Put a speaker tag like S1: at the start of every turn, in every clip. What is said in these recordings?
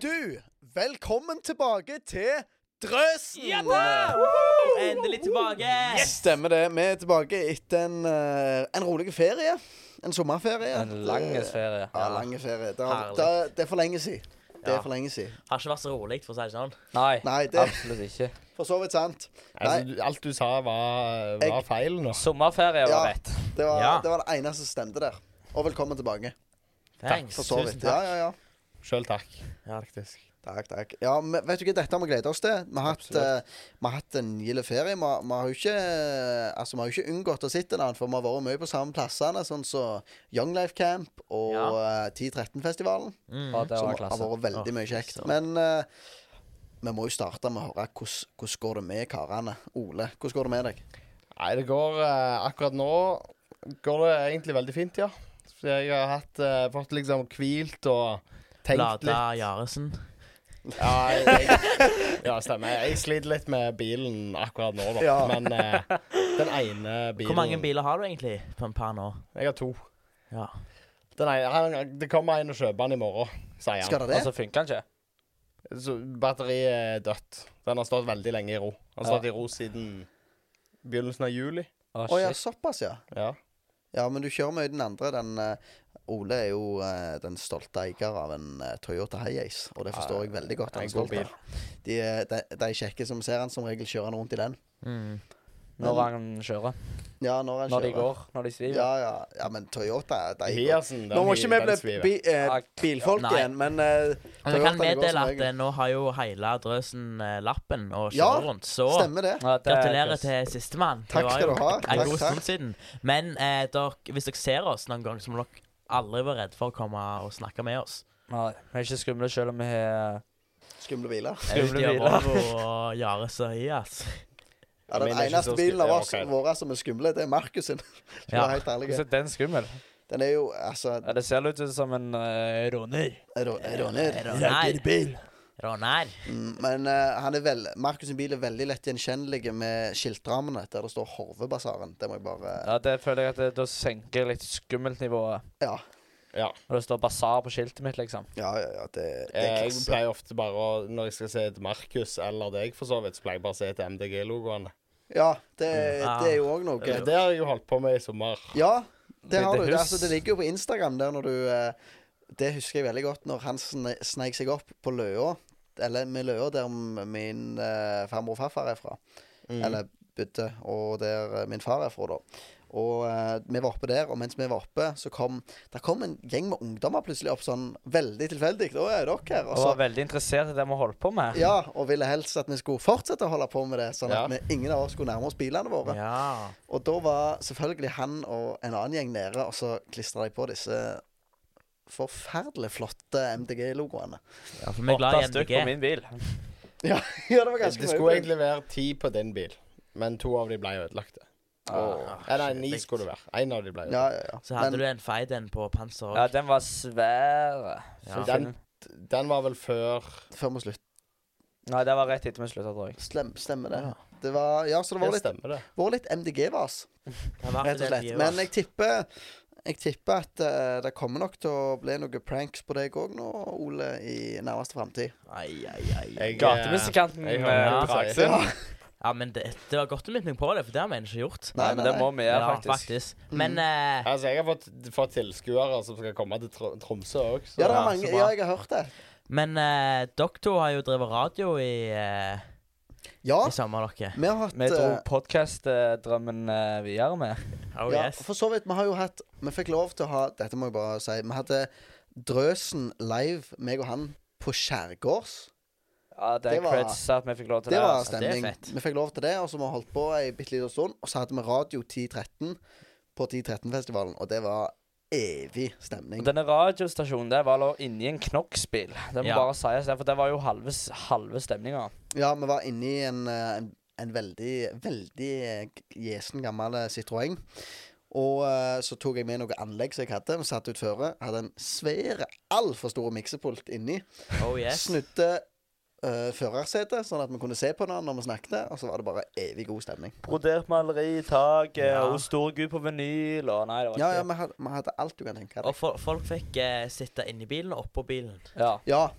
S1: Du, velkommen tilbake til Drøsen!
S2: Ja da! Endelig tilbake!
S1: Stemmer det. Vi er tilbake etter en, eh, en rolig ferie. En sommerferie. Eh,
S3: En lang ferie.
S1: Ja, lang ferie. Det, har,
S2: Herlig.
S1: det, det er for lenge siden. Det
S2: Ja.
S1: er for lenge siden.
S2: Har ikke vært så rolig, for å si det sånn.
S3: Nei,
S1: Nei, det-
S3: absolutt ikke.
S1: For så vidt sant.
S4: Altså,
S1: Nei,
S4: du- alt du sa, var, var
S1: Jeg-
S4: feil nå.
S3: Sommerferie var
S1: Ja.
S3: rett.
S1: det var,
S4: Ja.
S1: det var det eneste som stemte der. Og velkommen tilbake.
S2: Thanks.
S1: For så
S2: Tusen
S1: vidt. Ja,
S2: takk.
S1: ja, ja.
S4: Sjøl takk.
S2: Ja, faktisk.
S1: Takk, takk. Ja, men vet du ikke, Dette har vi gledet oss til. Vi har hatt,
S4: Absolutt.
S1: eh, vi har hatt en gild ferie. Vi, har- vi har jo ikke eh, Altså, vi har jo ikke unngått å sitte der, for vi har vært mye på samme plassene, sånn som Young Life Camp og
S2: Ja.
S1: eh, 10-13-festivalen.
S3: Ja, det
S1: Mm. Som
S3: var
S1: har
S3: klasse.
S1: vært veldig mye kjekt. Men eh, vi må jo starte med å høre hvordan hvordan går det med karene. Ole, hvordan går det med deg?
S4: Nei, det går eh, Akkurat nå går det egentlig veldig fint, ja. Så jeg har hatt, eh, fått liksom hvilt og tenkt
S2: Lada
S4: litt.
S2: Jaresen.
S4: Ja, jeg, ja, stemmer. Jeg sliter litt med bilen akkurat nå, da.
S1: Ja.
S4: Men eh, den ene bilen
S2: Hvor mange biler har du egentlig på en par nå?
S4: Jeg har to.
S2: Ja.
S4: Den ene, han, det kommer en og kjøper den i morgen, sier
S1: Skal
S4: han.
S1: det
S3: Og
S1: det?
S3: så funka den ikke.
S4: Så batteriet er dødt. Den har stått veldig lenge i ro. Den har
S3: Ja.
S4: stått i ro siden begynnelsen av juli.
S3: Å,
S1: Å ja,
S3: shit.
S1: såpass, ja.
S4: Ja.
S1: Ja, men du kjører mye den andre. Den eh, Ole er jo eh, den stolte eier av en eh, Toyota Hiace, og det forstår jeg veldig godt. Han
S4: en
S1: er
S4: god
S1: stolt av. De, eh, de, de kjekke som ser han, som regel kjører han rundt i den.
S3: Når han kjører.
S1: Ja, når han
S3: Når de
S1: kjører.
S3: går. Når de sviver.
S1: Ja, ja. ja, men Toyota de,
S4: Hiacen, den
S1: Nå må ikke vi
S4: den
S1: bli
S4: sviver.
S1: bi, eh,
S3: Nei.
S1: bilfolk
S2: Nei.
S1: igjen, men eh,
S2: Men jeg kan
S1: Toyota, det går som
S2: meddele at
S1: regel.
S2: eh, nå har jo hele drøsen eh, lappen og kjører
S1: Ja,
S2: rundt, så
S1: Stemmer det?
S3: Ja, det er
S2: Gratulerer
S3: Chris.
S2: til sistemann.
S1: Takk skal du ha.
S2: En
S1: Takk,
S2: god
S1: takk.
S2: stund siden. Men eh, dere, hvis dere ser oss noen gang, så må dere aldri være redd for å komme og snakke med oss.
S3: Nei, vi er ikke skumle selv om vi har
S1: Skumle biler.
S3: Skumle
S2: Audi og
S3: biler.
S2: Volvo og Yaris og Hias.
S1: Ja, Den
S4: Men det er ikke
S1: eneste
S4: så skum-
S1: bilen av
S4: ja,
S1: oss
S4: ok.
S1: våre som er skumle, det er Markus sin. Skal
S2: Ja.
S1: være helt ærlig.
S3: Så den skummel?
S1: Den er jo altså
S3: Ja, det ser ut som en uh, roner.
S1: Er du- er du ned?
S2: Ronær. Ronær.
S1: Mm, Men eh, han er vel, Markus sin bil er veldig lett gjenkjennelig med skiltrammene der det står Horvebasaren. Det må jeg bare
S3: Ja, det føler jeg at det, da senker litt skummeltnivået.
S1: Ja,
S4: Ja.
S3: Når det står basar på skiltet mitt, liksom.
S1: ja, ja. ja det, det er
S4: Eh, Jeg
S1: klasse.
S4: pleier ofte bare å Når jeg skal se et Markus eller deg, for så vidt, så pleier jeg bare å se etter MDG-logoene.
S1: Ja, det,
S4: Mm.
S1: det er jo òg
S4: Det,
S1: noe.
S4: det har jeg jo holdt på med i sommer.
S1: Ja, det har
S3: Det-
S1: du.
S3: det
S1: Det,
S3: hus-
S1: altså, det ligger jo på Instagram der når du eh, Det husker jeg veldig godt når han sne, sneik seg opp på Løa. Eller med Løa, der m- min eh, farmor og farfar er fra. Eller bodde. Og der eh, min far er fra, da. Og eh, vi var oppe der, og mens vi var oppe, så kom Der kom en gjeng med ungdommer plutselig opp sånn veldig tilfeldig. Da er dere her. Og
S3: Og var
S1: så,
S3: veldig interessert i det vi holdt på med.
S1: ja, og ville helst at vi skulle fortsette å holde på med det, sånn at
S4: Ja.
S1: vi, ingen av oss skulle nærme oss bilene våre.
S2: Ja.
S1: Og da var selvfølgelig han og en annen gjeng nede, og så klistra de på disse forferdelig flotte MDG-logoene.
S2: ja, for vi er glad i
S3: Åtte stykk på
S2: NDG.
S3: min bil.
S1: Ja, ja, det var ganske
S4: Det skulle
S1: mye.
S4: egentlig være ti på din bil, men to av de ble ødelagte.
S2: Ah,
S4: Eh, nei, ni
S2: shit.
S4: skulle det være. Én av de ble
S1: Ja,
S4: ødelagt.
S1: ja, ja.
S2: Så hadde
S1: Men-
S2: du en feit en på panser
S3: Ja,
S2: òg.
S3: den var svær.
S2: Ja.
S4: Den, den var vel før
S1: Før vi slutter.
S3: Nei, det var rett etter vi slutta, tror jeg.
S1: Slem, stemmer det. Det var, ja, så det var
S4: Det
S1: litt,
S4: stemmer, det.
S1: var litt MDG-vas, rett og slett. Men
S2: Men
S1: jeg tipper jeg tipper at eh, det kommer nok til å bli noen pranks på deg òg nå, Ole, i nærmeste framtid.
S2: Ai, ai, ai.
S4: Jeg, eh,
S3: Gatemusikanten
S4: jeg
S3: eh,
S4: hører hva du sier.
S3: Dragsen.
S2: Ja, men det, det var godt du minnet meg på det, for det har vi ennå ikke gjort.
S3: Nei, men det må vi gjøre,
S2: ja,
S3: faktisk.
S1: Mm.
S2: Men eh,
S4: Altså, jeg har fått, fått tilskuere som skal komme til Tr Tromsø òg, så
S1: Ja, det
S2: Ja,
S1: er mange,
S2: så bra.
S1: ja, jeg har hørt det.
S2: men eh, dere to har jo drevet radio i, eh,
S1: Ja,
S2: i sommer, dere.
S1: vi har hatt
S3: Vi dro
S1: eh,
S3: podkast-drømmen eh, videre med.
S2: Oh
S1: ja,
S2: yes.
S1: for så vidt. Vi har jo hatt Vi fikk lov til å ha Dette må jeg bare si. Vi hadde Drøsen live, meg og han, på Skjærgårds.
S3: Ja, det
S1: Det
S3: er
S1: var-
S3: creds at vi fikk lov til
S1: Det
S3: det.
S1: var
S3: altså.
S2: det er
S1: stemning.
S2: fett.
S1: Vi fikk lov til det, og så vi har holdt på ei bitte lita stund. Og så hadde vi radio 1013 på 1013-festivalen, og det var evig
S3: Og
S1: stemning.
S3: Denne radiostasjonen der var lå inni en knoksbil. Det må
S2: Ja.
S3: bare sies, der, for det var jo halve, s- halve stemninga.
S1: Ja, vi var inni en, eh, en, en veldig, veldig eh, gjesen gammel eh, Citroën. Og eh, så tok jeg med noe anlegg som jeg hadde. Vi satte ut føre. Hadde en svær, altfor stor miksepult inni.
S2: Oh yes.
S1: snudde uh, førersetet, sånn at vi kunne se på den når vi snakket, og så var det bare evig god stemning.
S3: Brodert maleri i taket,
S2: Ja.
S3: og Storgud på vinyl, og nei, det var
S1: Ja,
S3: ikke
S1: ja, vi hadde, vi hadde alt du kan tenke
S2: Og
S1: deg.
S2: fol- folk fikk eh, sitte inni bilen og oppå bilen.
S3: ja.
S1: Ja.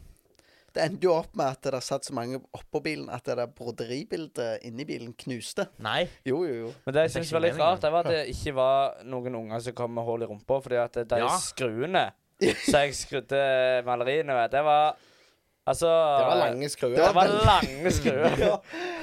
S1: Det endte jo opp med at det satt så mange oppå bilen at det der broderibildet inni bilen knuste.
S2: Nei.
S1: Jo, jo, jo.
S3: Men det
S2: Det er
S3: jeg syns
S2: ikke
S3: var litt
S2: meningen.
S3: rart, det var at det ikke var noen unger som kom med hull i rumpa, fordi at de
S2: Ja.
S3: skruene som jeg skrudde maleriene med, det var Altså
S4: Det var lange skruer.
S3: Det var lange skruer.
S1: Ja.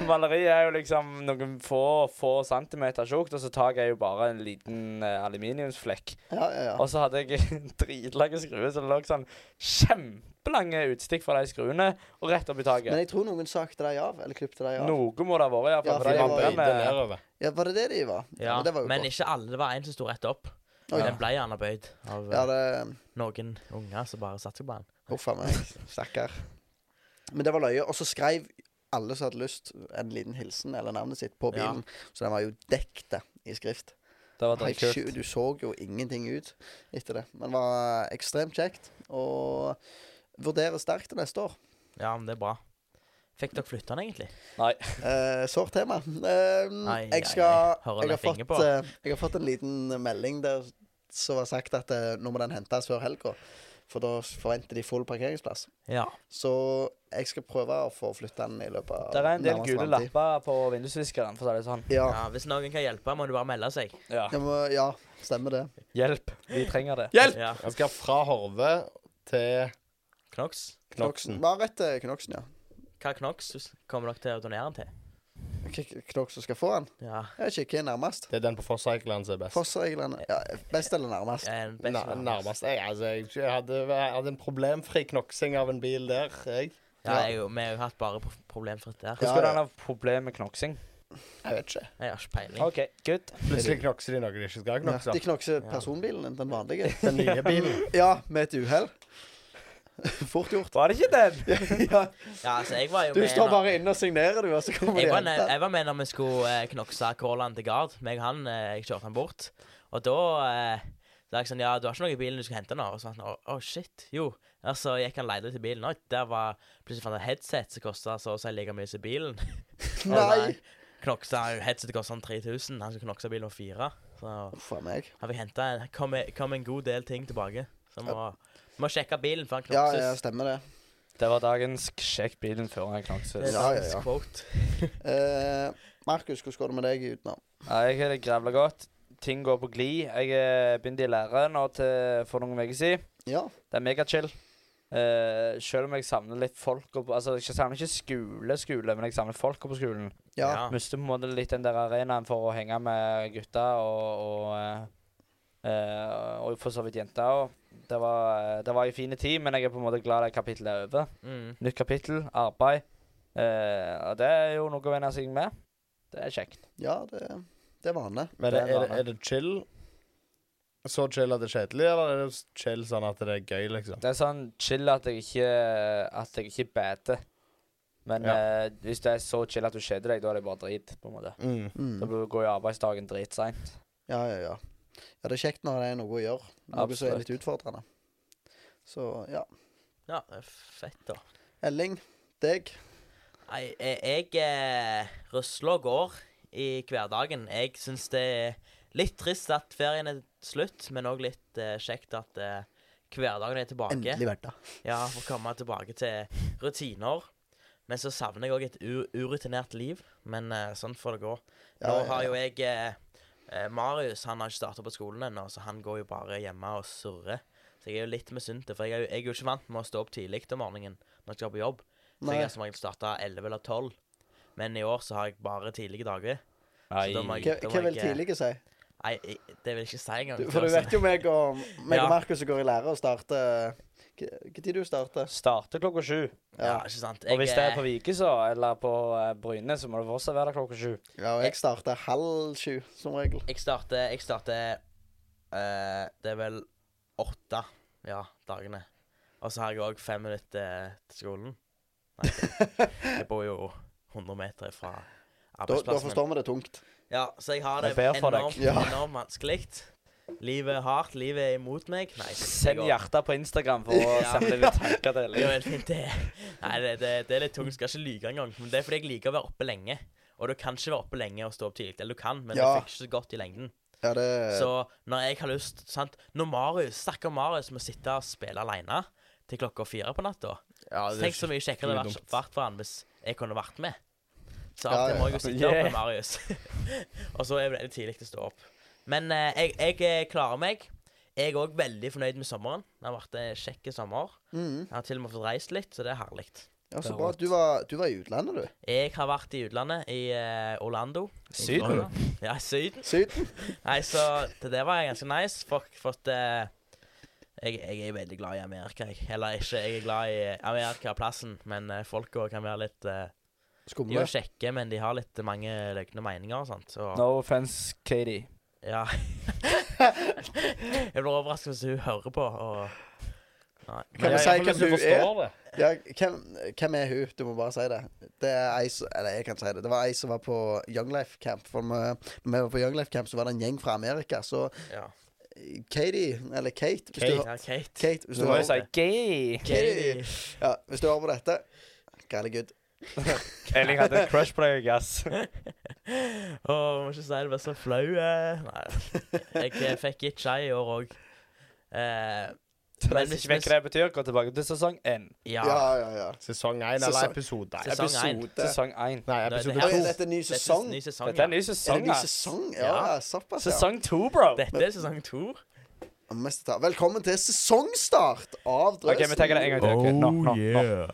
S3: Maleriet er jo liksom noen få, få centimeter tjukt, og så tar jeg jo bare en liten eh, aluminiumsflekk.
S1: Ja, ja, ja.
S3: Og så hadde jeg dritlange skruer, så det lå sånn kjempelange utstikk fra de skruene, og rett opp i
S1: Men
S3: taket.
S1: jeg tror noen sakte deg av, eller klipte deg av.
S3: Noe må det ha vært,
S1: Ja,
S3: iallfall.
S1: for
S3: Ja,
S1: det var-
S3: for de
S4: Bøyde
S3: jobber med
S4: nedover.
S1: Ja, var det det de var?
S2: Ja,
S1: men det var jo
S2: men
S1: godt.
S2: ikke alle. Det var en som sto rett opp.
S1: Å, ja.
S2: Den ble gjerne bøyd av
S1: Ja,
S2: eh,
S1: det
S2: noen unger som bare satte seg på den.
S1: Huff a meg. Stakkar. Men det var løye. Og så skrev alle som hadde lyst, en liten hilsen eller navnet sitt på
S2: Ja.
S1: bilen. Så den var jo dekte i skrift.
S3: Det var
S1: Helt
S3: dritkult.
S1: sju- Du så jo ingenting ut etter det. Men det var ekstremt kjekt. Og vurderer sterkt til neste år.
S2: Ja, men det er bra. Fikk dere flytta den, egentlig?
S1: Eh, Sårt tema. Eh,
S2: Ai, ai,
S1: jeg skal
S2: ai. Hører
S1: jeg har,
S2: deg finger
S1: fått,
S2: på.
S1: eh, jeg har fått en liten melding der som var sagt at eh, nå må den hentes før helga. For da forventer de full parkeringsplass.
S2: Ja.
S1: Så jeg skal prøve å få flytta den i løpet av
S3: Det er en del
S1: nærmeste
S3: gule
S1: fremtid.
S3: lapper på vindusviskeren, for å si det sånn.
S1: Ja,
S2: ja. Hvis noen kan hjelpe, må du bare melde seg.
S3: Ja.
S1: jeg må, ja, stemmer det.
S3: Hjelp. Vi trenger det.
S2: Ja.
S4: Jeg skal fra Horve til
S2: Knox?
S4: Knoksen.
S1: Bare etter Knoksen, ja.
S2: Hva Knox kommer dere til å donere den til?
S1: K- Knoksen skal få den.
S2: Ja.
S1: Jeg vet ikke hva er nærmest.
S4: Det er den på Fosshaugland som er best.
S1: Fossreglene. Ja, best eller nærmest.
S2: En best-
S4: Na, nærmest. Jeg, altså, jeg, jeg, hadde, jeg hadde en problemfri knoksing av en bil der. Jeg,
S2: Ja, jeg, og- vi har jo hatt bare pro- problemfritt der.
S1: Ja,
S3: Hvordan skal
S1: ja.
S3: den ha problemer med knoksing?
S4: jeg vet ikke.
S2: Jeg har ikke peiling.
S3: OK, good.
S4: Plutselig knokser de noe de ikke skal
S1: Ja,
S4: knokse.
S1: de knokser
S2: Ja.
S1: personbilen din, den vanlige.
S4: Den nye bilen.
S1: Ja, med et uhell. Fort gjort.
S3: Var det ikke den?
S1: ja.
S2: Ja, altså, jeg var jo
S1: Du
S2: med
S1: står
S2: når-
S1: bare inne og signerer, du, og så kommer de
S2: jeg var,
S1: og
S2: ne-
S1: henter.
S2: jeg var med når vi skulle eh, knokse Kåland til Gard. Meg og han, eh, jeg kjørte han bort. Og da eh, da er jeg sånn, ja, du har ikke noe i bilen du skal hente nå? Og så var han, å, å, shit, jo. Og så gikk han leide til bilen, og der var plutselig fant jeg et headset som kosta så å si like mye som bilen. Og
S1: Nei!
S2: da Knoksa, headsetet kosta han 3000, han skulle knokse bilen for fire. Så
S1: Uff a meg.
S2: han fikk hente en, kom, kom en god del ting tilbake. Så må, må sjekke bilen før han
S1: Ja,
S2: knokses.
S1: ja, stemmer det.
S3: Det var dagens sjekk bilen før han
S2: Det er
S3: knokses.
S1: Ja, ja, ja.
S2: dagens quote.
S1: Eh, Markus, hvordan går det med deg utenom?
S3: Nei, jeg har det grevla godt. Ting går på glid. Jeg eh, begynte i lære nå til for noen uker siden.
S1: Ja.
S3: Det er megachill. Uh, selv om jeg savner litt folk og, Altså, jeg savner ikke skole, skole, men jeg savner folka på skolen.
S1: ja.
S2: Ja.
S3: Mister på en måte litt den der arenaen for å henge med gutta og og, eh, eh, og for så vidt jenter òg. Det var, eh, det var en fin tid, men jeg er på en måte glad det kapittelet er over.
S2: Mm.
S3: Nytt kapittel, arbeid. Eh, og det er jo noe å venne seg med. Det er kjekt.
S1: ja, det, det er vanlig.
S4: Men
S3: Det
S4: er,
S3: er
S4: er, det,
S3: bra,
S4: er det chill? Så chill at det er kjedelig, eller er det chill sånn at det er gøy, liksom?
S3: Det er sånn chill at jeg ikke At jeg ikke bader. Men
S4: Ja.
S3: eh, hvis det er så chill at du kjeder deg, da er det bare drit. på en måte.
S4: Mm.
S1: Mm.
S3: Da blir- går jo arbeidsdagen dritseint.
S1: Ja, ja, ja. Ja, det er kjekt når det er noe å gjøre. Noe som er
S3: Absolutt.
S1: litt utfordrende. Så ja.
S2: ja, det er fett, da.
S1: Elling, deg.
S2: Nei, eh, jeg eh, rusler og går i hverdagen. Jeg syns det er litt trist at ferien er slutt, men òg litt eh, kjekt at eh, hverdagen er tilbake.
S1: Endelig hverdag.
S2: Ja, For å komme tilbake til rutiner. Men så savner jeg òg et u urutinert liv. Men eh, sånn får det gå. Nå
S1: Ja, ja,
S2: har
S1: ja.
S2: jo jeg eh, eh, Marius han har ikke starta på skolen ennå, så han går jo bare hjemme og surrer. Så jeg er jo litt misunnelig, for jeg er, jo, jeg er jo ikke vant med å stå opp tidlig om morgenen når jeg skal på jobb. Så
S1: Nei.
S2: jeg har som regel starta 11 eller 12. Men i år så har jeg bare tidlige dager.
S3: Nei.
S2: da må jeg-
S1: Hva
S2: da må
S1: hva vil
S2: jeg, eh,
S1: tidlig si?
S2: Nei, jeg, det vil jeg ikke si engang.
S1: Du, for du vet jo meg og, meg
S2: Ja.
S1: og Markus som går i lære og starter Når tid du starter?
S3: Starter klokka sju.
S2: Ja,
S1: Ja.
S2: ikke sant.
S3: Og hvis det er på
S2: eh,
S3: Vike, så, eller på eh, Bryne, så må det fortsatt være klokka sju.
S1: ja, og jeg starter halv sju som regel.
S2: Jeg starter, jeg starter eh, Det er vel åtte ja, dagene. Og så har jeg òg fem minutter eh, til skolen. Nei, jeg bor jo 100 meter fra
S1: Da, da
S2: arbeidsplassen. min.
S1: forstår vi det er tungt.
S2: Ja, så jeg har
S3: Det
S2: det
S3: er bedre for deg.
S2: enormt,
S1: Ja.
S2: enormt vanskelig. Livet er hardt, livet er imot meg. Nei, jeg
S3: Send
S2: går-
S3: hjerter på Instagram for å
S2: Ja.
S3: sende litt tanker til
S2: Det er
S3: Elling.
S2: jo helt fint, det. Nei, det, det, det er litt tungt. Skal ikke lyve engang. Men det er fordi jeg liker å være oppe lenge. Og du kan ikke være oppe lenge og stå opp tidlig. Eller du kan, men
S1: Ja.
S2: det funker ikke så godt i lengden.
S1: Ja, det
S2: Så når jeg har lyst sant? Når Marius, stakkar Marius, må sitte og spille aleine til klokka fire på natta.
S4: Ja, det er
S2: Tenk så mye kjekkere det hadde
S4: skikkelig
S2: vært- vært for han hvis jeg kunne vært med. Så
S1: Ja,
S2: av og til
S1: ja,
S2: må jeg jo
S4: ja.
S2: sitte opp med
S3: Yeah.
S2: Marius. og så er det veldig tidlig å stå opp. Men eh, jeg, jeg eh, klarer meg. Jeg er òg veldig fornøyd med sommeren. Det har vært en kjekk sommer.
S1: Mhm.
S2: Jeg har til og med fått reist litt, så det er herlig.
S1: Ja,
S3: Det
S1: så
S3: er
S1: bra.
S3: rått.
S1: Du var, du var i utlandet, du.
S2: Jeg har vært i utlandet, i eh, Orlando.
S3: Syden?
S2: Ja, Syden.
S1: Syden.
S2: Nei, så det der var ganske nice. For, for at, eh, jeg, jeg er veldig glad i Amerika, jeg. Eller ikke, jeg er glad i eh, Amerika-plassen, men uh, folka kan være litt eh, De er
S1: Skumle.
S2: jo kjekke, men de har litt mange løgne meninger og sånt. Så,
S3: No offense, Katie.
S2: ja. jeg blir overrasket hvis hun hører på. Og... Nei.
S1: Kan vi
S4: jeg-
S1: si
S4: jeg får
S1: hvem
S4: lyst til å
S1: du er?
S4: forstå det.
S1: Ja, hvem, hvem er hun? Du må bare si det. Det er ei som Eller jeg kan si det. Det var ei som var på Young Life Camp. For når vi var på Young Life Camp, så var det en gjeng fra Amerika. Så
S2: Ja.
S1: Katie, eller Kate hvis du,
S4: Kate.
S1: hø-
S2: Ja, Kate.
S1: Kate, hvis du,
S3: Du må jo
S1: hører,
S3: si gay.
S1: Katie. ja, hvis du hører på dette Gally good.
S3: Elling hadde et crush på deg, ass.
S2: Å, må ikke si det, blir så flau. eh. Nei. Jeg eh, fikk gitt skje i år òg. Eh, Men
S3: Men
S2: hvis-
S3: hvis ikke vet hva det betyr, gå tilbake til sesong én.
S2: ja.
S1: Ja, ja, ja.
S4: Sesong 1
S1: Sesong-
S4: eller episode
S2: Sesong-
S4: Nei,
S2: én.
S1: Episode.
S3: Sesong
S4: Nei,
S3: én.
S2: Nå er
S1: Oi,
S4: episode
S2: det-
S1: er
S4: 2.
S1: dette en ny
S2: Dette
S1: sesong?
S2: er ny sesong,
S3: Dette er en
S2: ja.
S3: ny
S1: Er det
S3: sesong,
S1: ny
S3: ass.
S1: sesong? Ja,
S2: Ja.
S1: såpass, ja.
S3: Sesong to, bro.
S2: Dette er sesong to.
S1: Mest av- Velkommen til sesongstart av
S3: OK,
S1: Drøsen.
S3: vi tar det en gang til. ok? Nå, nå, nå.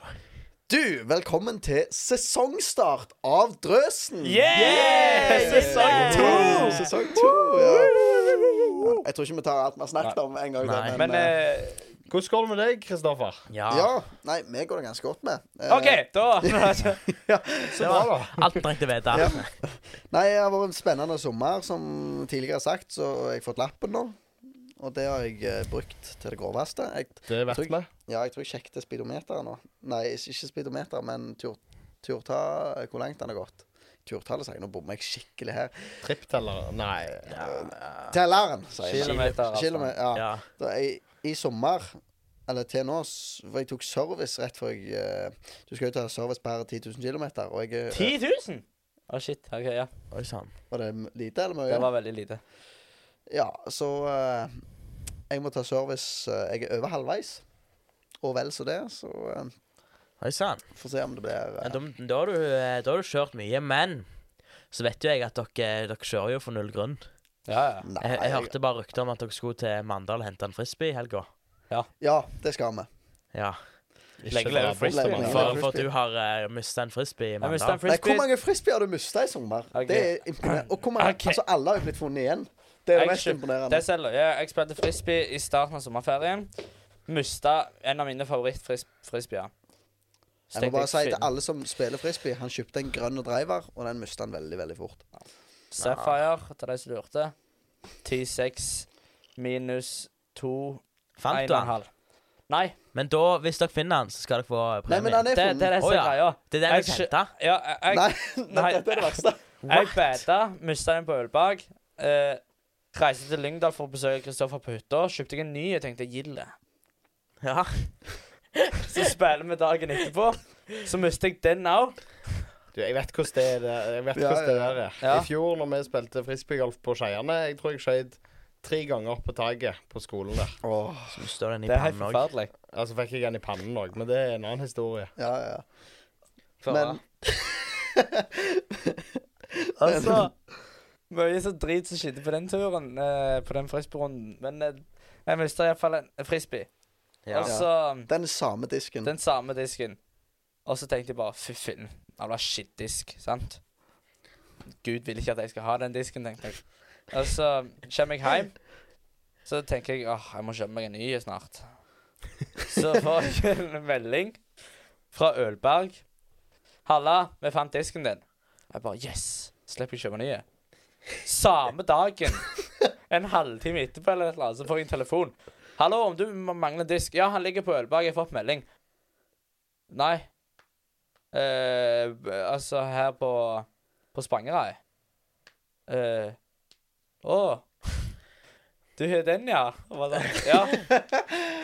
S1: Du, velkommen til sesongstart av Drøsen.
S3: Yeah!
S1: Yay!
S3: Sesong to!
S1: Sesong to, ja. Ja, Jeg tror ikke vi tar alt vi har snakket om en gang. da,
S2: Nei.
S3: Men
S1: eh,
S3: eh,
S4: Hvordan går det med deg, Kristoffer?
S2: Ja.
S1: ja. Nei, vi går det ganske godt med. Eh,
S3: OK, da
S4: Så bra, da.
S2: Alt trengte å vite.
S1: Ja. Nei, det har vært en spennende sommer, som tidligere sagt, så jeg har fått lappen nå. Og det har jeg eh, brukt til det groveste. Jeg,
S4: Det vet
S1: Trygg.
S4: vi.
S1: ja, jeg tror jeg sjekket speedometeret nå. Nei, ikke- ikke speedometer, men tur, turta, eh, hvor langt den har gått. Turtallet, sier jeg. Nå bommer jeg skikkelig her.
S4: Trippteller Nei.
S1: Telleren, sier jeg.
S3: Kilometer. altså.
S1: Kilometer, ja.
S2: Ja.
S1: Da jeg, I sommer, eller til nå, s- for jeg tok service rett før jeg eh, Du skal jo ta service per 10 000 km, og jeg eh,
S3: 10 000? Å, shit. OK, ja.
S2: Oi sann.
S1: Var det m- lite eller
S3: Det
S1: mye?
S3: var veldig lite.
S1: Ja, så eh, jeg må ta service eh, Jeg er over halvveis, og vel så det, så eh,
S2: Oi sann.
S1: får se om det blir
S2: Ja,
S1: eh,
S2: Da, da, har du, eh, da har du kjørt mye, men så vet jo jeg at dere, eh, dere kjører jo for null grunn.
S3: Ja, ja.
S1: Nei,
S2: jeg, jeg hørte bare rykter om at dere skulle til Mandal og hente en frisbee i helga.
S1: Ja, det skal vi.
S2: Ja.
S4: Ikke
S3: Lenge leve
S4: for
S1: frisbee,
S4: Mann.
S1: mann.
S2: For,
S1: frisbee.
S2: for at du har uh, mista en frisbee i
S3: Jeg
S2: Mandal.
S3: mistet en
S1: Nei, hvor
S3: frisbee.
S1: mange frisbee har du mista i sommer?
S3: Ok.
S1: Det er imponerende. Og hvor mange,
S3: Ok.
S1: altså, alle har jo blitt funnet igjen. Det er
S3: Jeg
S1: det mest
S3: skjø-
S1: imponerende.
S3: Det selger. Ja, jeg spilte frisbee i starten av sommerferien. Mista en av mine favorittfrisbeer.
S1: Jeg må bare si til alle som spiller frisbee, han kjøpte en grønn driver, og den mista han veldig, veldig fort.
S3: Sapphire, til de som lurte. 10-6 minus 2
S2: Fant du han?
S3: 1,5. Nei,
S2: Men da, hvis dere finner han, så skal dere få
S1: Nei,
S2: premie.
S1: men han
S3: det,
S1: er
S3: det er
S1: funnet.
S3: det som
S2: Å,
S3: er
S2: ja.
S3: greia.
S2: det er det jeg
S3: Jeg skj-
S2: henta.
S3: Ja, jeg,
S1: Nei,
S3: jeg,
S1: nei, dette er det verste.
S3: jeg beta, mista den på ølbag. Eh, reiste til Lyngdal for å besøke Kristoffer på hytta. Kjøpte jeg en ny og tenkte gilde.
S2: Ja.
S3: Så spiller vi dagen etterpå. Så mister jeg den òg.
S4: Du, jeg vet hvordan det er. det- Jeg vet
S1: Ja,
S4: hvordan det
S1: ja, ja.
S4: der er.
S3: Ja.
S4: I fjor når vi spilte frisbeegolf på Skeiane, jeg tror jeg skjøt tre ganger opp på taket på skolen der.
S1: Åh,
S2: Så du står den i
S3: Det er helt
S2: pannen òg.
S3: forferdelig.
S4: Altså fikk jeg den i pannen òg, men det er en annen historie.
S1: ja, ja, ja.
S3: Men
S1: Men-
S3: Altså Mye så drit som skjedde på den turen, eh, på den frisbee-runden. Men eh, jeg mista iallfall en frisbee.
S2: Ja.
S3: Og så
S1: Den samme disken.
S3: den samme disken. Og så tenkte jeg bare fy fillen, han var skittdisk, sant? Gud vil ikke at jeg skal ha den disken, tenkte jeg. Og så kommer jeg hjem, så tenker jeg åh, jeg må kjøpe meg en ny snart. Så får jeg en melding fra Ølberg. 'Halla, vi fant disken din.' Jeg bare 'yes', slipper jeg kjøpe nye. Samme dagen, en halvtime etterpå eller et eller annet, så får jeg en telefon. 'Hallo, om du mangler disk?' 'Ja, han ligger på Ølberg, jeg har fått melding.' Nei. Eh, b- altså, her på På Spangereid. Eh, Å. Du har den, ja? Og bare sånn, Ja.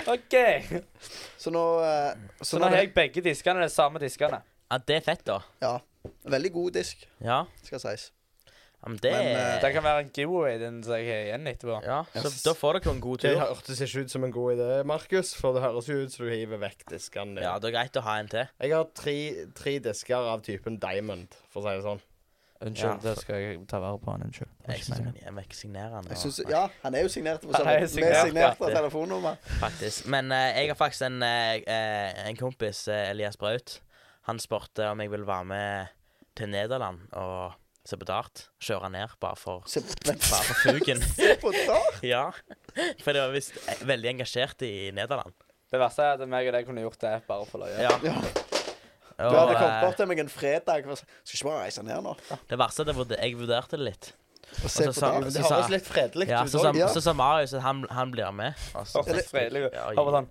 S3: OK. Sånn
S1: Så nå eh,
S3: Så
S1: Så nå
S3: nå har
S1: det
S3: jeg begge diskene, de samme diskene.
S2: Ja, det er fett, da.
S1: Veldig god disk,
S2: Ja.
S1: skal sies.
S2: Ja, men det
S1: Men, eh,
S3: Det kan være en giveaway den som jeg har igjen etterpå.
S2: Ja, så
S1: Yes.
S2: da får dere jo en god
S4: Det
S2: tur.
S4: hørtes ikke ut som en god idé, Markus, for det høres jo ut som du hiver vekk diskene.
S2: Ja,
S4: dine.
S2: det er greit å ha en til.
S4: Jeg har tre, tre disker av typen diamond, for å si det sånn.
S2: Unnskyld,
S3: det skal jeg ta vare på. han, Unnskyld.
S2: Jeg synes han- jeg må ikke signere han.
S1: Jeg
S2: og-
S1: synes, ja, han er jo signert. for så
S3: Han er jo
S1: vidt. Vi
S3: signert,
S1: signerte
S2: ja.
S1: telefonnummer.
S2: faktisk. Men eh, jeg har faktisk en, eh, eh, en kompis, eh, Elias Braut. Han spurte om jeg ville være med til Nederland og se på dart. Kjøre ned bare for,
S1: Se
S2: bare for fugen.
S1: se på der!
S2: ja. For jeg var visst eh, veldig engasjert i Nederland.
S3: Det verste er at meg og deg kunne gjort det bare for løye.
S2: Ja.
S1: Ja.
S2: Og,
S1: Du hadde kommet
S2: eh,
S1: bort til meg en fredag og sa Skal ikke bare reise ned nå
S2: det verste er at jeg vurd- jeg vurderte det litt.
S1: og se
S2: Og så
S1: på
S2: sa-
S1: der.
S4: Det
S2: Så sa-
S4: høres litt fredelig
S2: Ja,
S4: ut
S2: så sa,
S4: òg.
S1: ja.
S2: så sa Marius at han, han blir med. Og så-
S3: Åh, så fredelig.
S2: Ja,
S3: Hør på sånn.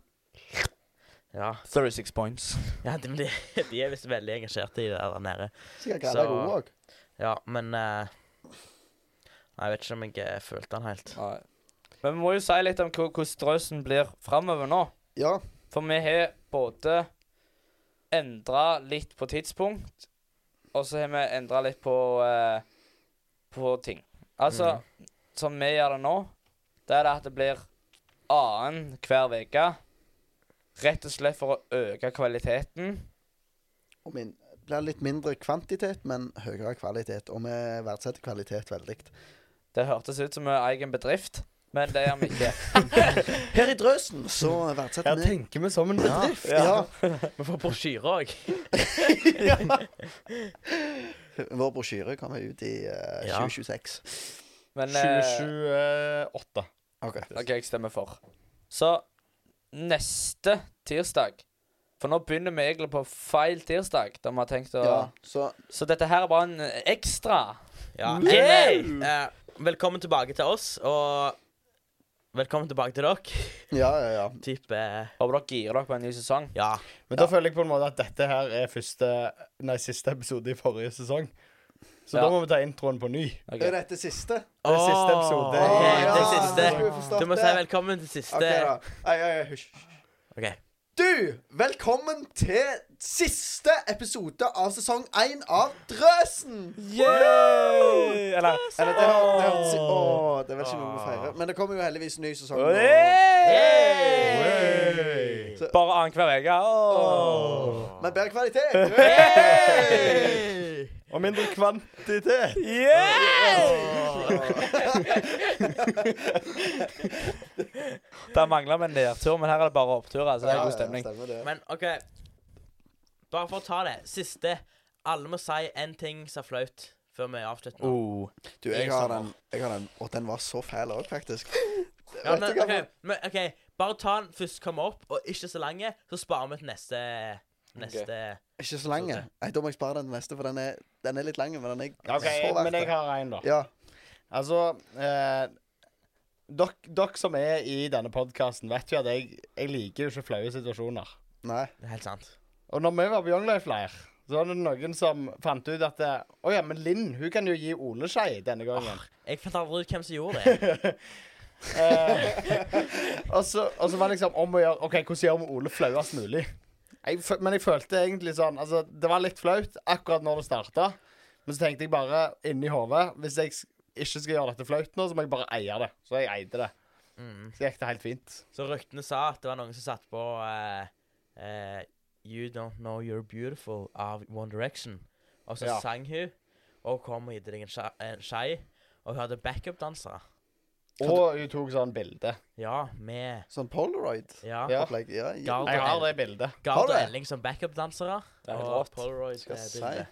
S2: Ja,
S3: 36 points.
S2: ja de, de, de er visst veldig engasjerte i det der nede.
S1: Sikkert Greta
S2: så-
S1: god òg.
S2: Ja, men eh, Nei, Jeg vet ikke om jeg eh, følte han helt.
S3: Nei. Men vi må jo si litt om hvor- hvordan drøsen blir framover nå.
S1: Ja.
S3: For vi har både endra litt på tidspunkt, og så har vi endra litt på eh, på ting. Altså, som vi gjør det nå, det er det at det blir annen hver uke. Rett og slett for å øke kvaliteten.
S1: Og min blir litt mindre kvantitet, men høyere kvalitet. Og vi verdsetter kvalitet veldig.
S3: Det hørtes ut som vi eier en bedrift, men det gjør vi ikke.
S1: Her i Drøsen så verdsetter
S4: Her
S1: vi
S4: tenker vi som en bedrift.
S1: ja,
S2: Vi får brosjyre òg.
S1: Vår brosjyre kommer ut i eh,
S2: Ja.
S1: 2026.
S3: Men, eh,
S4: 2028.
S1: Ok.
S3: OK, jeg stemmer for. Så neste tirsdag For nå begynner vi egentlig på feil tirsdag, da vi har tenkt å
S1: Ja, så
S3: Så dette her er bare en ekstra.
S2: Ja.
S4: Yay!
S2: men, eh, velkommen tilbake til oss, og velkommen tilbake til dere.
S1: Ja, ja, ja.
S2: Type eh,
S3: Håper dere girer dere på en ny sesong.
S2: Ja.
S4: Men da føler jeg på en måte at dette her er første, nei, siste episode i forrige sesong. Så
S3: Ja.
S4: da må vi ta introen på ny.
S1: Det er
S3: Ok.
S1: dette siste.
S4: Det er siste episode.
S2: Åh,
S4: Åh,
S2: ok,
S4: ja,
S2: det
S4: så
S2: siste.
S1: skulle vi forstått
S2: Du må
S1: det.
S2: si velkommen til siste.
S1: Ok, da. Ei, ei, ei, hysj.
S2: Ok.
S1: Du, velkommen til siste episode av sesong én av Drøsen!
S3: Yay! Eller,
S1: Eller,
S3: eller
S1: det,
S3: det
S1: har, det,
S3: var
S1: har, åh, det er vel ikke noe vi feirer. Men det kommer jo heldigvis ny sesong. nå.
S4: Hey!
S1: Så-
S3: Bare annenhver uke. Åh.
S1: Med bedre kvalitet.
S2: Hey!
S4: Og mindre kvantitet.
S3: Det mangler vi en nedtur, men her er det bare opptur. Altså, det er
S1: Ja,
S3: god
S1: ja,
S3: stemning.
S1: stemmer det.
S2: Men OK. Bare for å ta det siste. Alle må si én ting som er flaut, før vi avslutter. nå.
S3: Oh.
S1: Du, jeg har den. Jeg har den. Og den var så fæl òg, faktisk.
S2: Ja,
S1: Vet
S2: men,
S1: du hva-
S2: ok, men, ok, Bare ta den først kommer opp, og ikke så lange, så sparer vi til neste Neste
S1: Ikke så lang.
S2: Sorte.
S1: Nei, Da må jeg spare den til neste, for den er, den er litt lang. Men den er
S4: OK,
S1: så verdt
S4: men jeg
S1: det.
S4: har en, da.
S1: Ja.
S4: Altså eh, dere, dere som er i denne podkasten, vet jo at jeg, jeg liker jo ikke flaue situasjoner.
S1: Nei.
S2: Det er helt sant.
S4: Og når vi var på Young Life Leir, så var det noen som fant ut at eh, Å ja, men Linn hun kan jo gi Ole skei denne gangen.
S1: Ah.
S2: Jeg fant aldri ut hvem som gjorde det.
S4: Og så, og så var det liksom om å gjøre OK, hvordan gjør vi Ole flauest mulig? Jeg, fø- men jeg følte egentlig sånn Altså, det var litt flaut akkurat når det starta. Men så tenkte jeg bare inni hodet Hvis jeg s- ikke skal gjøre dette flaut nå, så må jeg bare eie det. Så jeg eide det.
S2: Mm.
S4: Så gikk det helt fint.
S2: Så ryktene sa at det var noen som satt på eh, eh, You Don't Know You're Beautiful av One Direction. Og så
S4: Ja.
S2: sang hun, og kom og gitt deg en skje- en skei. Og hun hadde backup-dansere.
S4: Og hun tok sånn bilde.
S2: Ja, med
S1: Sånn Polaroid-opplegg.
S2: Ja.
S1: Ja, ja.
S4: Ja.
S2: Gard
S4: Jeg har
S2: og,
S4: det bildet.
S2: Gard og
S1: Har du?
S2: Elling som backup-dansere.
S3: Det er helt
S2: og eh,
S3: rått.
S1: Skal
S2: Polaroid-bilde.
S1: jeg si.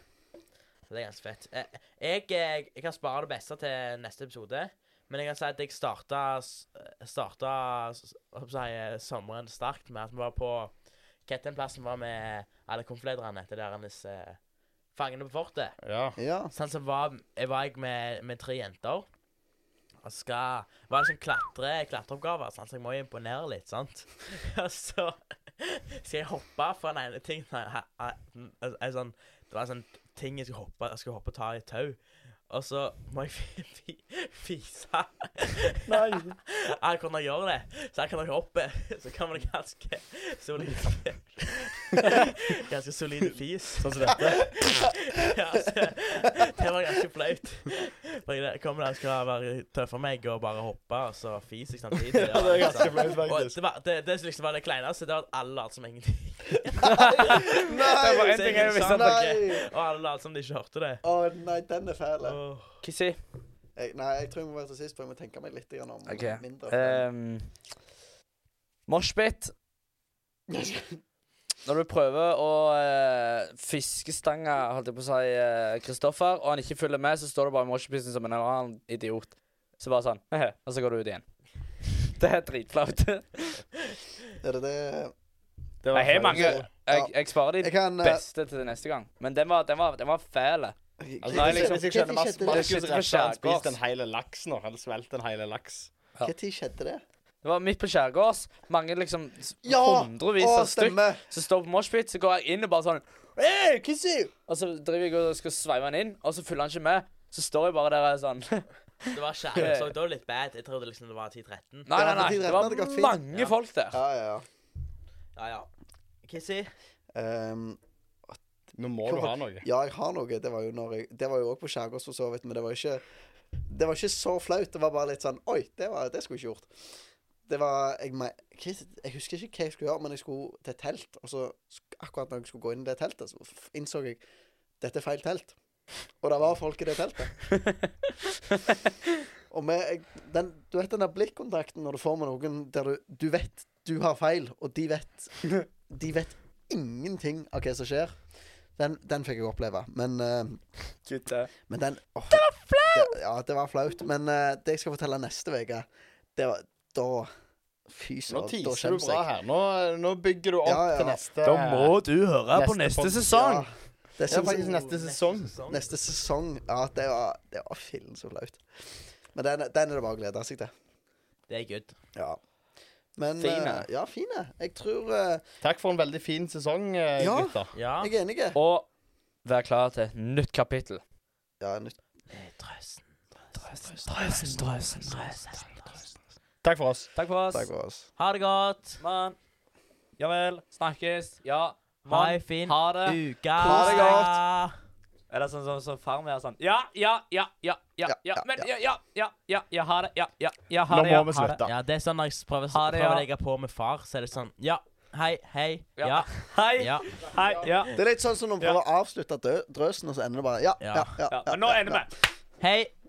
S2: Så det er ganske fett. Eh, Jeg, jeg, jeg kan spare det beste til neste episode. Men jeg kan si at jeg starta, s- eh, starta s- hva skal jeg si, sommeren sterkt med at vi var på Kettenplassen var med alle konflederne til deres eh, Fangene på fortet.
S4: Ja.
S1: ja.
S2: Sånn som var, jeg var jeg med, med tre jenter. Og skal var liksom klatre, klatreoppgaver, sant? så jeg må jo imponere litt, sant. Og så skal jeg hoppe fra den ene tingen til den her- en en sånn, Det var en sånn ting jeg skulle hoppe Jeg skulle hoppe og ta i et tau. Og så må jeg fi- fi- fise.
S4: Nei.
S2: Jeg kan da gjøre det. Så jeg kan da hoppe. Så kan man ganske solid Ganske solid fis.
S4: Sånn som dette.
S2: Ja, altså, det var ganske flaut. For jeg kom der og skulle være tøff for meg og bare hoppe, og så fis jeg samtidig.
S4: Ja, det er ganske
S2: liksom. Og
S4: flaut, faktisk.
S2: det, var, det, det som liksom var det kleineste, det var at alle lot som ingenting.
S3: Det var
S1: Nei!
S3: en ting jeg visste at
S1: Nei!
S3: dere
S2: Og alle lot som de ikke hørte det.
S1: Å nei, den er fæl.
S2: Åh.
S3: Kissi.
S1: Jeg- Nei, jeg tror jeg må være til sist, for jeg må tenke meg litt grann om.
S3: Ok.
S1: Mindre fæl.
S3: Um, Moshpit. Når du prøver å uh, fiskestange holdt jeg på å si, eh, Kristoffer, og han ikke følger med, så står du bare i moshpiten som en eller annen idiot. Så bare sånn, «Hehe», og så går du ut igjen. Det er dritflaut.
S1: Er det det
S4: Det
S3: Jeg har
S4: flaut.
S3: mange. Jeg, jeg sparer
S1: Jeg
S3: de
S1: kan eh,
S3: beste til neste gang. Men den var, den var, den var fæl.
S1: jeg-
S4: Altså, nei,
S3: Nei,
S1: Når
S4: liksom, hvis jeg skjønner Mas-
S1: skjedde det?
S4: Markus
S3: Det skjedde på
S4: rett før han
S3: skjærgårds.
S4: spiste en hel laks nå. Han svelget en hel laks.
S3: Ja.
S1: Når skjedde det?
S3: Det var midt på skjærgårds. Mange liksom s-
S1: Ja!
S3: hundrevis
S1: Å,
S3: av stykk
S1: stemmer.
S3: som står på moshpit, så går jeg inn og bare sånn
S1: Hey, Kissy!
S3: Og så driver jeg og skal sveive han inn, og så følger han ikke med. Så står jeg bare der og er sånn
S2: Det var skjære, så da var det litt bad. Jeg trodde liksom det var 10-13.
S3: Nei, nei, nei.
S1: for
S3: Det
S1: tidretten hadde gått
S3: var
S1: fint.
S3: mange
S2: Ja.
S3: folk der.
S1: Ja, ja, ja.
S2: Ja, ja. Kissy.
S1: Ehm,
S4: Nå må du ha noe.
S1: ja, jeg har noe. Det var jo når jeg, det var jo også på Skjærgårds for så vidt, men det var ikke Det var ikke så flaut. Det var bare litt sånn Oi, det, var, det skulle jeg ikke gjort. Det var jeg, me- Chris, jeg husker ikke hva jeg skulle gjøre, men jeg skulle til et telt. Og så sk- akkurat når jeg skulle gå inn i det teltet, så f- innså jeg dette er feil telt. Og det var folk i det teltet. og med, jeg, den, du vet den der blikkontakten når du får med noen der du, du vet du har feil, og de vet De vet ingenting av hva som skjer. Den, den fikk jeg oppleve. Men, eh,
S3: Kutte.
S1: men den Det var flaut! Det, ja, det var flaut. Men eh, det jeg skal fortelle neste uke, det var Da Fy
S4: Nå
S1: søren, da
S4: teaser du
S1: skjemmes
S4: bra
S1: jeg.
S4: her. Nå, nå bygger du opp
S1: Ja, ja.
S4: til neste
S3: du høre
S4: på neste
S1: Ja, det
S4: Det er
S1: syns jeg-
S4: faktisk neste sesong.
S1: Neste sesong. Ja, det var, det var fillen så flaut. Men den, den er det bare å glede seg til.
S2: Det er good.
S1: Ja. Men
S3: Fine.
S1: eh, Ja, fine. Jeg tror eh,
S4: Takk for en veldig fin sesong, eh,
S1: Ja.
S4: gutter.
S2: Ja.
S1: Jeg er enig.
S3: Og vær klar til et nytt kapittel.
S1: Ja, nytt.
S2: Trøsten.
S3: Drøsen, drøsen,
S4: Takk for oss.
S3: Takk for
S1: Takk
S3: oss.
S1: for oss.
S2: Ha det godt.
S3: Mann. Ja vel. Snakkes. Ja.
S2: Ha
S3: Mann.
S2: ei fin
S3: Ha det.
S2: uke.
S1: Ha det godt.
S3: Er det sånn som så, farm er sånn Ja, ja, ja, ja, ja,
S1: Ja,
S3: ja,
S1: ja,
S3: men
S1: ja.
S3: ja, ja, ja, ja, ja, ha det, ja, ja, ja, ha
S4: Nå må
S3: det, ja,
S4: vi
S3: ha det.
S4: slutte.
S2: Ja, det er sånn når jeg prøver,
S3: Ha det,
S2: prøver å
S3: ja.
S2: legge på med far, så er det sånn Ja. Hei, hei. Ja.
S3: Ja. Hei,
S2: Ja.
S3: hei, ja.
S1: Det er litt sånn som når man prøver å avslutte dø drøsen, og så ender det bare Ja,
S2: Ja.
S1: ja, ja.
S3: ja. Men nå ender vi.
S2: Hei.